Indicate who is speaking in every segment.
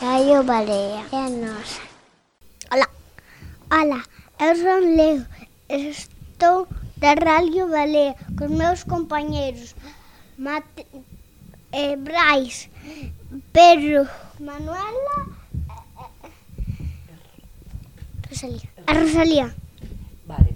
Speaker 1: Leo Barea. É a nosa. Hola. Hola, eu son Leo. Estou da Radio Balea cos meus compañeiros Mate, eh, Brais, Pedro, Manuela e Rosalía. A Rosalía.
Speaker 2: Vale.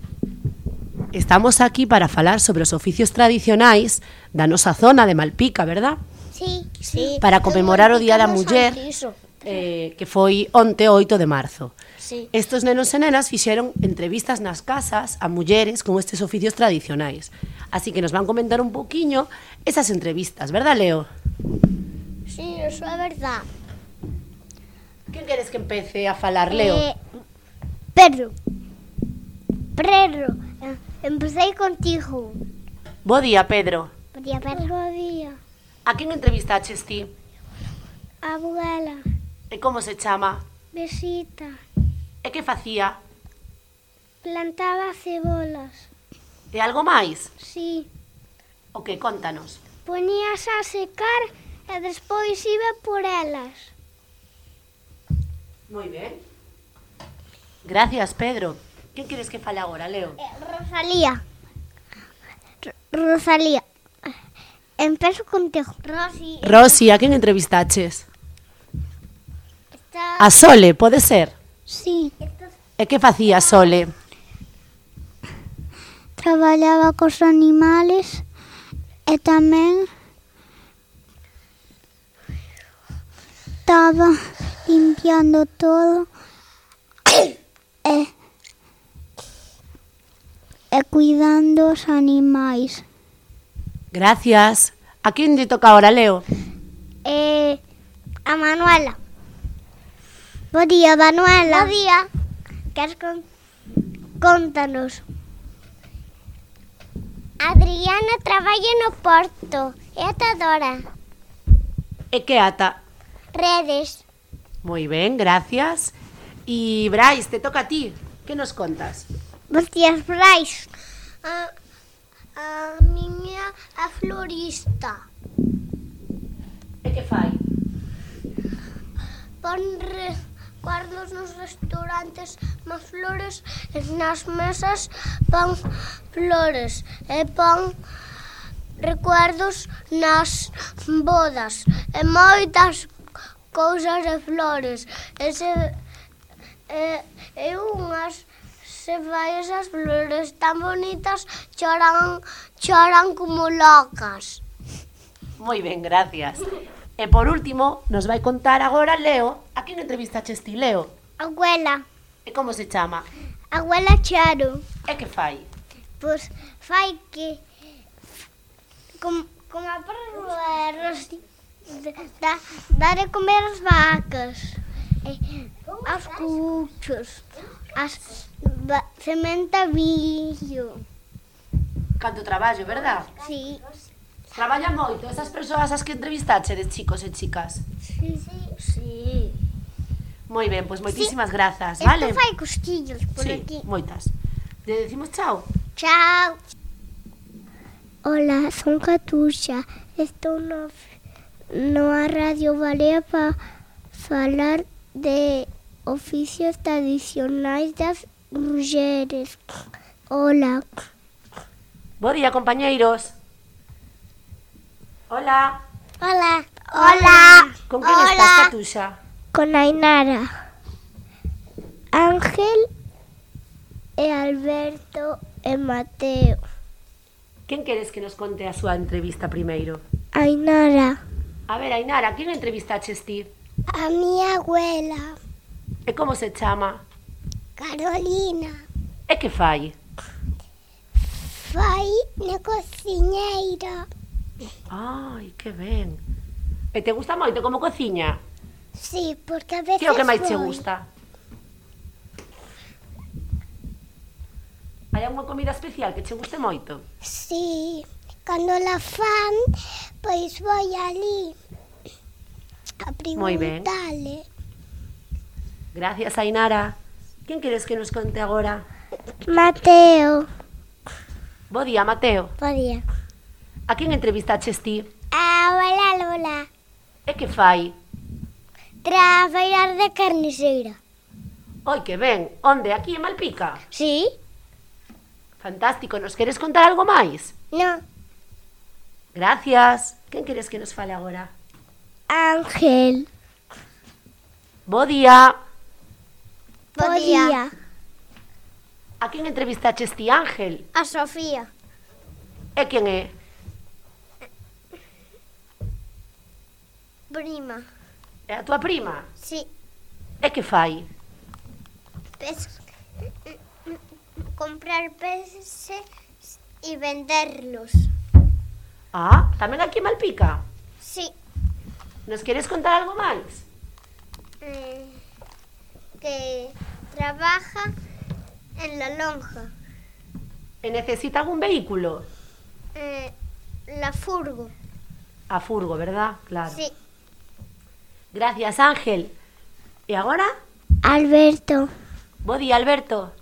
Speaker 2: Estamos aquí para falar sobre os oficios tradicionais da nosa zona de Malpica, verdad?
Speaker 1: Sí, sí.
Speaker 2: Para conmemorar o Día da
Speaker 1: Dedicamos
Speaker 2: Muller.
Speaker 1: a Iso.
Speaker 2: Eh, que foi onte 8 de marzo.
Speaker 1: Sí.
Speaker 2: Estos nenos e nenas fixeron entrevistas nas casas a mulleres con estes oficios tradicionais. Así que nos van comentar un poquinho esas entrevistas, verdad, Leo?
Speaker 1: Sí, eso é verdad.
Speaker 2: Que queres que empece a falar, Leo?
Speaker 1: Eh, Pedro. Pedro, eh, empecé contigo.
Speaker 2: Bo día, Pedro.
Speaker 1: Podía Pedro. Bo día.
Speaker 2: A quen entrevistaches ti?
Speaker 1: Abuela,
Speaker 2: E como se chama?
Speaker 1: besita,
Speaker 2: E que facía?
Speaker 1: plantaba cebolas.
Speaker 2: E algo máis?
Speaker 1: Sí,
Speaker 2: O que contanos?
Speaker 1: ponías a secar e despois iba por elas.
Speaker 2: Moi ben. Gracias, Pedro. Que queres que fale agora, Leo?
Speaker 1: Eh, Rosalía. Rosalía. Empezo contigo. Rosy.
Speaker 2: Rosy, a quen entrevistaches?
Speaker 1: Está...
Speaker 2: A Sole, pode ser?
Speaker 1: Sí.
Speaker 2: E que facía Sole?
Speaker 1: Traballaba cos animales e tamén estaba limpiando todo e, e cuidando os animais.
Speaker 2: Gracias. A quen lle toca agora, Leo?
Speaker 1: Eh, a Manuela. Bo día, Manuela. Bo día. Queres con... Contanos. Adriana traballa no Porto. É atadora.
Speaker 2: E que ata?
Speaker 1: Redes.
Speaker 2: Moi ben, gracias. E Brais, te toca a ti. Que nos contas?
Speaker 1: Bos días, Brais. A, a miña a florista.
Speaker 2: E que fai?
Speaker 1: Pon resguardos nos restaurantes más flores e nas mesas pon flores e pon recuerdos nas bodas e moitas cousas de flores e se e, e unhas se vai esas flores tan bonitas choran choran como locas
Speaker 2: Moi ben, gracias. E por último, nos vai contar agora Leo a quen entrevistaches ti, Leo?
Speaker 1: Abuela,
Speaker 2: E como se chama?
Speaker 1: abuela Charo
Speaker 2: E que fai?
Speaker 1: Pois fai que com, como a perra dá, dá de comer as vacas, eh, aos cuchos, as ba, sementa milho.
Speaker 2: Canto traballo, verdad?
Speaker 1: Sí,
Speaker 2: Traballa moito esas persoas as que entrevistache de chicos e chicas.
Speaker 1: sí, sí.
Speaker 2: Moi ben, pois moitísimas grazas,
Speaker 1: Isto
Speaker 2: vale?
Speaker 1: Então fai costillos por
Speaker 2: sí,
Speaker 1: aquí.
Speaker 2: moitas. Lle decimos chao.
Speaker 1: Chao. Hola, son Catuxa. Estou no, no a Radio Balea para falar de oficios tradicionais das mulleres. Hola.
Speaker 2: Bo día, compañeiros. Hola.
Speaker 1: Hola. Hola.
Speaker 2: Con quen estás, Catuxa?
Speaker 1: Con Ainara. Ángel e Alberto e Mateo.
Speaker 2: Quen queres que nos conte a súa entrevista primeiro?
Speaker 1: Ainara.
Speaker 2: A ver, Ainara, quen entrevistaches ti?
Speaker 1: A miña abuela.
Speaker 2: E como se chama?
Speaker 1: Carolina
Speaker 2: E que fai?
Speaker 1: vai na cociñeira.
Speaker 2: Ai, que ben. E te gusta moito como cociña?
Speaker 1: Sí, porque a veces
Speaker 2: Que é o que máis te
Speaker 1: voy.
Speaker 2: gusta? Hai unha comida especial que che guste moito?
Speaker 1: Sí, cando la fan, pois vou ali a
Speaker 2: Moi ben.
Speaker 1: preguntarle.
Speaker 2: Gracias, Ainara. Quen queres que nos conte agora?
Speaker 1: Mateo.
Speaker 2: Bo día, Mateo.
Speaker 1: Podía.
Speaker 2: A quen entrevistaches ti?
Speaker 1: A abuela Lola
Speaker 2: E que fai?
Speaker 1: Traballar de carniceira.
Speaker 2: Oi, que ben. Onde? Aquí en Malpica?
Speaker 1: Sí?
Speaker 2: Fantástico. Nos queres contar algo máis?
Speaker 1: No.
Speaker 2: Gracias. Quen queres que nos fale agora?
Speaker 1: Ángel.
Speaker 2: Bo día.
Speaker 1: Podía.
Speaker 2: A quen entrevistache este Ángel?
Speaker 1: A Sofía.
Speaker 2: E quen é?
Speaker 1: Prima.
Speaker 2: É a tua prima?
Speaker 1: Sí.
Speaker 2: E que fai?
Speaker 1: Pes... Comprar peces y venderlos.
Speaker 2: Ah, tamén aquí en Malpica?
Speaker 1: Sí.
Speaker 2: Nos queres contar algo máis?
Speaker 1: eh, mm, que trabaja en la lonja,
Speaker 2: E Eh, necesita algún vehículo?
Speaker 1: eh, la furgo.
Speaker 2: A furgo, verdad? Claro.
Speaker 1: Sí.
Speaker 2: Gracias, Ángel. E agora?
Speaker 1: Alberto.
Speaker 2: Bo día, Alberto.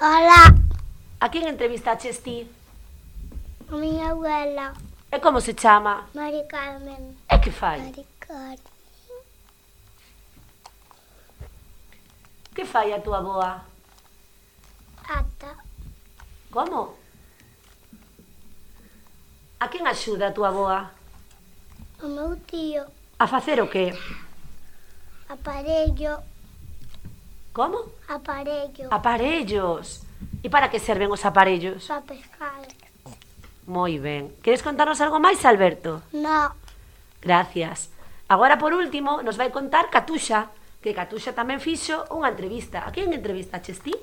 Speaker 1: Hola,
Speaker 2: A quen entrevistaches ti?
Speaker 1: mi abuela,
Speaker 2: E como Eh, se chama? Eh,
Speaker 1: Mari Carmen.
Speaker 2: E que fai?
Speaker 1: Mari Carmen.
Speaker 2: Que fai a tua boa?
Speaker 1: Ata.
Speaker 2: Como? A quen axuda a tua boa?
Speaker 1: O meu tío,
Speaker 2: A facer o que?
Speaker 1: aparello,
Speaker 2: Como?
Speaker 1: aparello,
Speaker 2: Aparellos. E para que serven os aparellos?
Speaker 1: para pescar.
Speaker 2: Moi ben. Queres contarnos algo máis, Alberto?
Speaker 1: No,
Speaker 2: Gracias. Agora, por último, nos vai contar Catuxa, que Catuxa tamén fixo unha entrevista. A quen entrevistaches ti?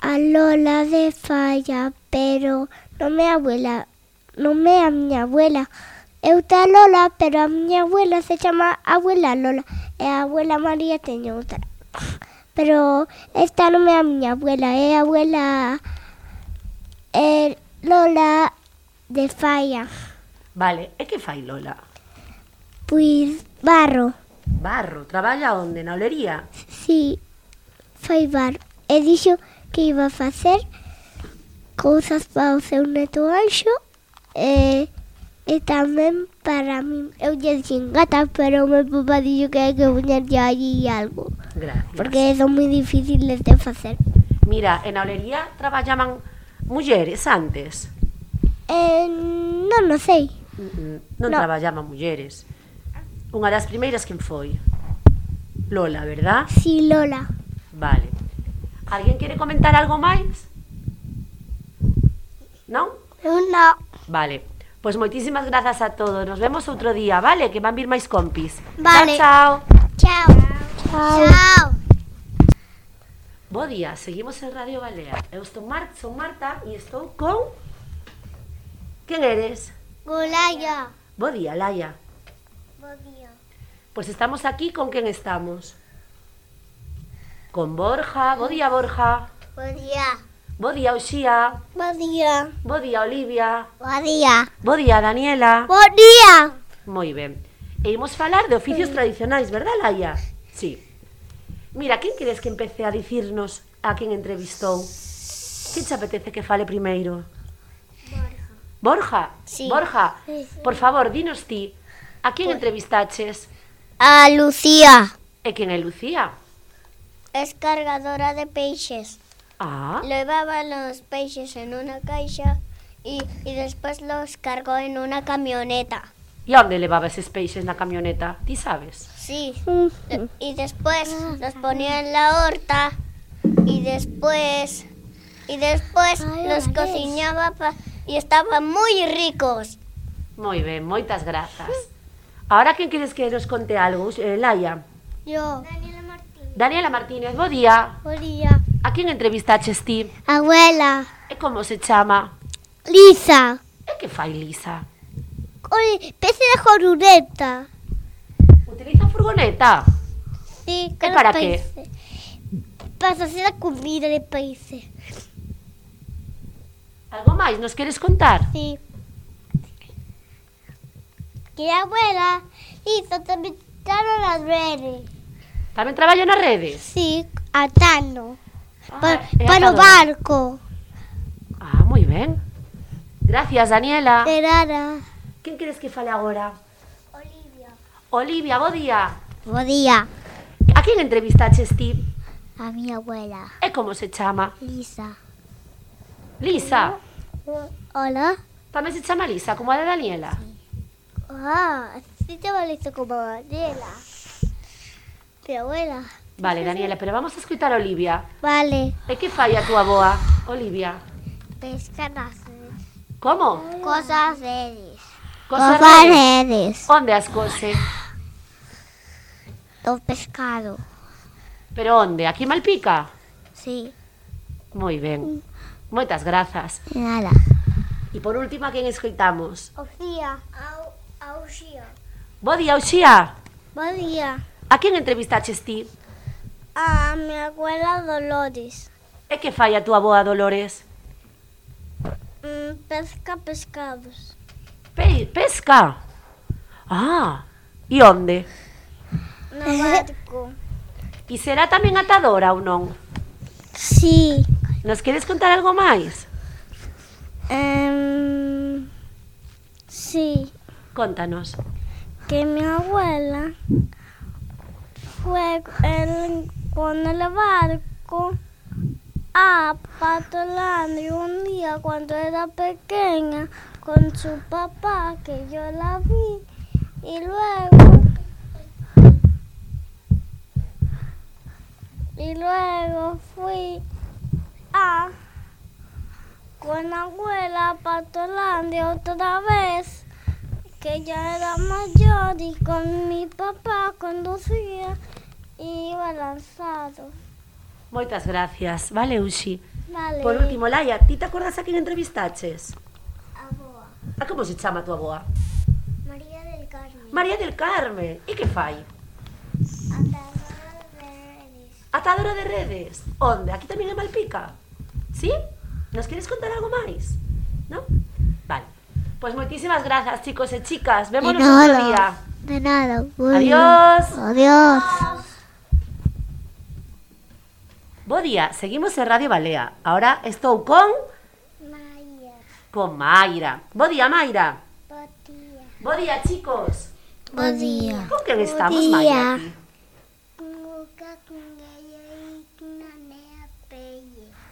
Speaker 1: a Lola de falla, pero non me abuela, non me a miña abuela. Eu te a Lola, pero a miña abuela se chama abuela Lola e a abuela María teño outra. Pero esta non é a miña abuela, é a abuela é Lola de falla.
Speaker 2: Vale, e que fai Lola?
Speaker 1: Pois Pues, barro,
Speaker 2: Barro, traballa onde? Na olería?
Speaker 1: si fai barro. E dixo que iba a facer cousas para o seu neto anxo e, e tamén para min. Eu lle dixen gata, pero o meu papá dixo que hai que poñerlle allí algo.
Speaker 2: Gracias.
Speaker 1: Porque son moi difíciles de facer.
Speaker 2: Mira, en a olería traballaban mulleres antes.
Speaker 1: Eh, non, non sei.
Speaker 2: Mm, mm, Non
Speaker 1: No.
Speaker 2: no. traballaban mulleres. Unha das primeiras quen foi? Lola, verdad?
Speaker 1: Si Lola.
Speaker 2: Vale. Alguén quere comentar algo máis? Non?
Speaker 1: Eu non.
Speaker 2: Vale. Pois moitísimas grazas a todos. Nos vemos outro día, vale? Que van vir máis compis.
Speaker 1: Vale.
Speaker 2: Chao, chao.
Speaker 1: Chao. Chao. Chao.
Speaker 2: Bo día, seguimos en Radio Balea. Eu estou Mar son Marta e estou con... Quen eres?
Speaker 1: Gulaya.
Speaker 2: Bo día, Laia.
Speaker 1: Bo día.
Speaker 2: Pois estamos aquí con quen estamos? Con Borja. Bo día, Borja.
Speaker 1: Bo día.
Speaker 2: Bo día, Uxía.
Speaker 1: Bo día.
Speaker 2: Bo día, Olivia.
Speaker 1: Bo día.
Speaker 2: Bo día, Daniela.
Speaker 1: Bo día.
Speaker 2: Moi ben. E imos falar de oficios tradicionais, verdad, Laia? Sí. Mira, quen queres que empece a dicirnos a quen entrevistou? Que che apetece que fale primeiro? Borja. Borja?
Speaker 1: Sí.
Speaker 2: Borja,
Speaker 1: Sí.
Speaker 2: por favor, dinos ti, a quen entrevistaches
Speaker 1: A Lucía.
Speaker 2: e quen é Lucía?
Speaker 3: Es cargadora de peixes.
Speaker 2: Ah,
Speaker 3: Llevaba los peixes en una caixa y, y después los cargó en una camioneta.
Speaker 2: e onde levaba eses peixes na camioneta? Ti sabes?
Speaker 3: Sí. De- Y después los ponía en la horta y después y después
Speaker 1: Ay, Alex.
Speaker 3: los cocinaba pa- y estaban muy ricos.
Speaker 2: Moi ben, moitas grazas. Ahora quen queres que nos conte algo, eh, Laia?
Speaker 1: Yo. Daniela Martín.
Speaker 2: Daniela Martínez, bo día.
Speaker 1: Bo día.
Speaker 2: A quen entrevistaches ti?
Speaker 1: Abuela.
Speaker 2: E como se chama?
Speaker 1: Lisa.
Speaker 2: E que fai Lisa?
Speaker 1: Oi, pese de jorureta.
Speaker 2: Utiliza furgoneta.
Speaker 1: Sí,
Speaker 2: E para que?
Speaker 1: Para facer a comida de países.
Speaker 2: Algo máis nos queres contar?
Speaker 1: Sí. Que a abuela hizo tamén tano nas redes.
Speaker 2: Tamén traballa nas redes? Ah,
Speaker 1: Sí, atano. Pa,
Speaker 2: é
Speaker 1: para o
Speaker 2: atadora.
Speaker 1: barco.
Speaker 2: Ah, moi ben. Gracias, Daniela.
Speaker 1: De nada.
Speaker 2: Quen queres que fale agora? Olivia, bo día.
Speaker 1: Bo día.
Speaker 2: A quen entrevistaches ti?
Speaker 1: A mi abuela,
Speaker 2: E como se chama?
Speaker 1: Lisa.
Speaker 2: Lisa.
Speaker 1: Hola.
Speaker 2: Tamén se chama Lisa, como a de Daniela.
Speaker 1: Ah, sí te valiste como Daniela. Mi abuela.
Speaker 2: Vale, Daniela, pero vamos a escutar a Olivia.
Speaker 1: Vale.
Speaker 2: E que fai a túa boa, Olivia?
Speaker 1: Pescan
Speaker 2: Como?
Speaker 1: cosas redes.
Speaker 2: Cosas
Speaker 1: Cosas
Speaker 2: raras.
Speaker 1: redes.
Speaker 2: Onde as cose?
Speaker 1: É O pescado.
Speaker 2: Pero onde? Aquí en Malpica?
Speaker 1: Sí.
Speaker 2: Moi ben. Moitas grazas.
Speaker 1: Nada.
Speaker 2: E por último, a quen escoitamos?
Speaker 1: Oxía. Au, auxía.
Speaker 2: Bo día, Uxía.
Speaker 1: Buen día.
Speaker 2: A quen entrevistaches ti?
Speaker 1: A mi abuela Ah, Dolores.
Speaker 2: E que fai a túa boa, Dolores?
Speaker 1: Hum, pesca pescados.
Speaker 2: Pe pesca. Ah, e onde?
Speaker 1: No barco.
Speaker 2: E será tamén atadora ou non?
Speaker 1: sí.
Speaker 2: Nos queres contar algo máis?
Speaker 1: Em, sí.
Speaker 2: Contanos.
Speaker 1: Que mi abuela fue el- con el barco a Patolandia un día cuando era pequeña con su papá que yo la vi y luego y luego fui a con la abuela a Patolandia otra vez que ya era mayor y con mi papá conducía y iba lanzado.
Speaker 2: Moitas gracias. Vale, Uxi.
Speaker 1: Vale.
Speaker 2: Por último, Laia, ti te acordas a quen entrevistaches?
Speaker 1: Aboa,
Speaker 2: A como se chama a tua boa?
Speaker 1: María del Carmen.
Speaker 2: María del Carmen. E que fai? Atadora de redes. Onde? Aquí tamén é Malpica. Sí? Nos queres contar algo máis? No? Vale. Pois moitísimas grazas, chicos e chicas. Vémonos outro día.
Speaker 1: De nada.
Speaker 2: Adiós.
Speaker 1: Adiós.
Speaker 2: Bo día, seguimos en Radio Balea. Ahora estou con
Speaker 1: María,
Speaker 2: con Mayra. Bo día, Mayra.
Speaker 1: buen día.
Speaker 2: Bo día, chicos.
Speaker 1: Buen día.
Speaker 2: Con quen estamos,
Speaker 1: día.
Speaker 2: Mayra? aquí?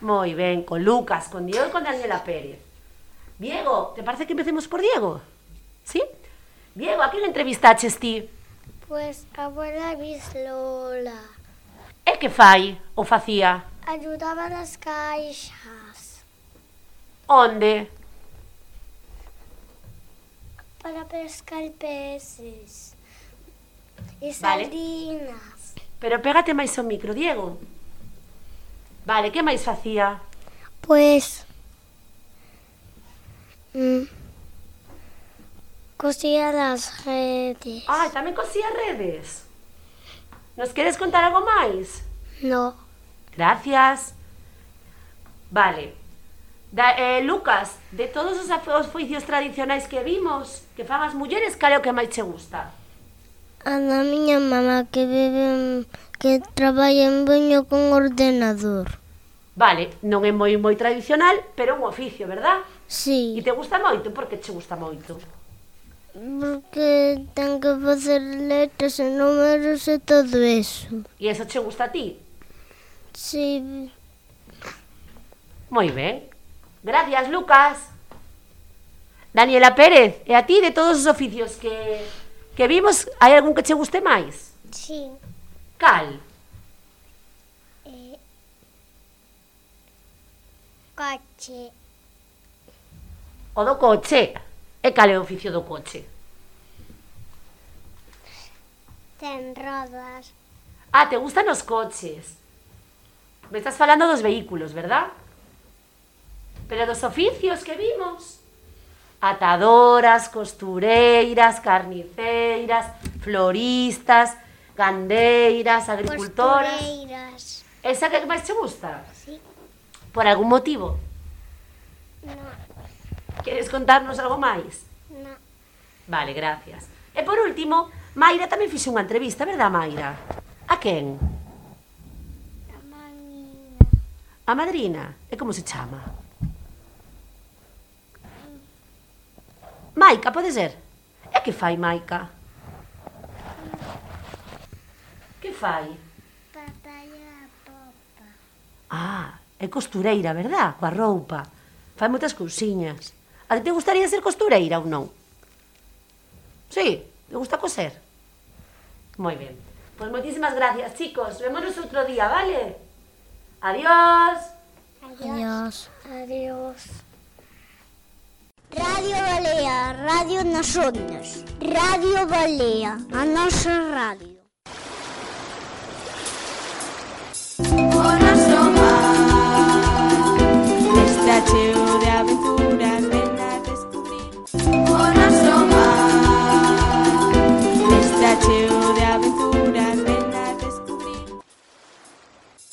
Speaker 2: Moi ben, con Lucas, con Diego e con Daniela Pérez. Diego, te parece que empecemos por Diego? Sí? Diego, a quen entrevistaches ti?
Speaker 1: Pues abuela Vislola
Speaker 2: E que fai ou facía?
Speaker 1: ayudaba las caixas
Speaker 2: Onde?
Speaker 1: para pescar peces y
Speaker 2: Vale.
Speaker 1: sardinas.
Speaker 2: Pero pégate máis o micro, Diego. Vale, que máis facía?
Speaker 1: Pues mm, cosía las redes.
Speaker 2: Ai, tamén cosía redes. Nos queres contar algo máis?
Speaker 1: No.
Speaker 2: Gracias. Vale. Da, eh, Lucas, de todos os af- os oficios tradicionais que vimos, que fan as mulleres, cal é o que máis che gusta?
Speaker 1: A da miña mamá que vive que traballa en Buño con ordenador.
Speaker 2: Vale, non é moi moi tradicional, pero é un oficio, verdad? E
Speaker 1: Sí,
Speaker 2: te gusta moito, porque che gusta moito?
Speaker 1: porque ten que facer letras e números e todo eso.
Speaker 2: E eso che gusta a ti?
Speaker 1: Sí,
Speaker 2: Moi ben. Gracias, Lucas. Daniela Pérez, e a ti de todos os oficios que que vimos, hai algún que che guste máis?
Speaker 1: sí.
Speaker 2: Cal?
Speaker 1: Coche,
Speaker 2: O do coche. E cal é o oficio do coche?
Speaker 1: ten rodas.
Speaker 2: Ah, te gustan os coches. Me estás falando dos vehículos, ¿verdad? Pero dos oficios que vimos. Atadoras, costureiras, carniceiras, floristas, gandeiras, agricultoras.
Speaker 1: Costureiras.
Speaker 2: Esa que máis te gusta?
Speaker 1: Sí.
Speaker 2: Por algún motivo?
Speaker 1: No,
Speaker 2: Queres contarnos algo máis?
Speaker 1: no.
Speaker 2: Vale, gracias. E por último, Mayra tamén fixe unha entrevista, verdad, Mayra? A quen?
Speaker 1: A mamina.
Speaker 2: A madrina, e como se chama? Maica, pode ser? E que fai Maica? fai? Ah, é costureira, verdad? Coa roupa. Fai moitas cousiñas. A ti te gustaría ser costureira ou non? Sí, te gusta coser. Moi ben. Pois moitísimas gracias, chicos. Vémonos outro día, vale? Adiós.
Speaker 1: Adiós.
Speaker 3: Adiós. Radio Balea, Radio Nas Ondas. Radio Balea, a nosa radio.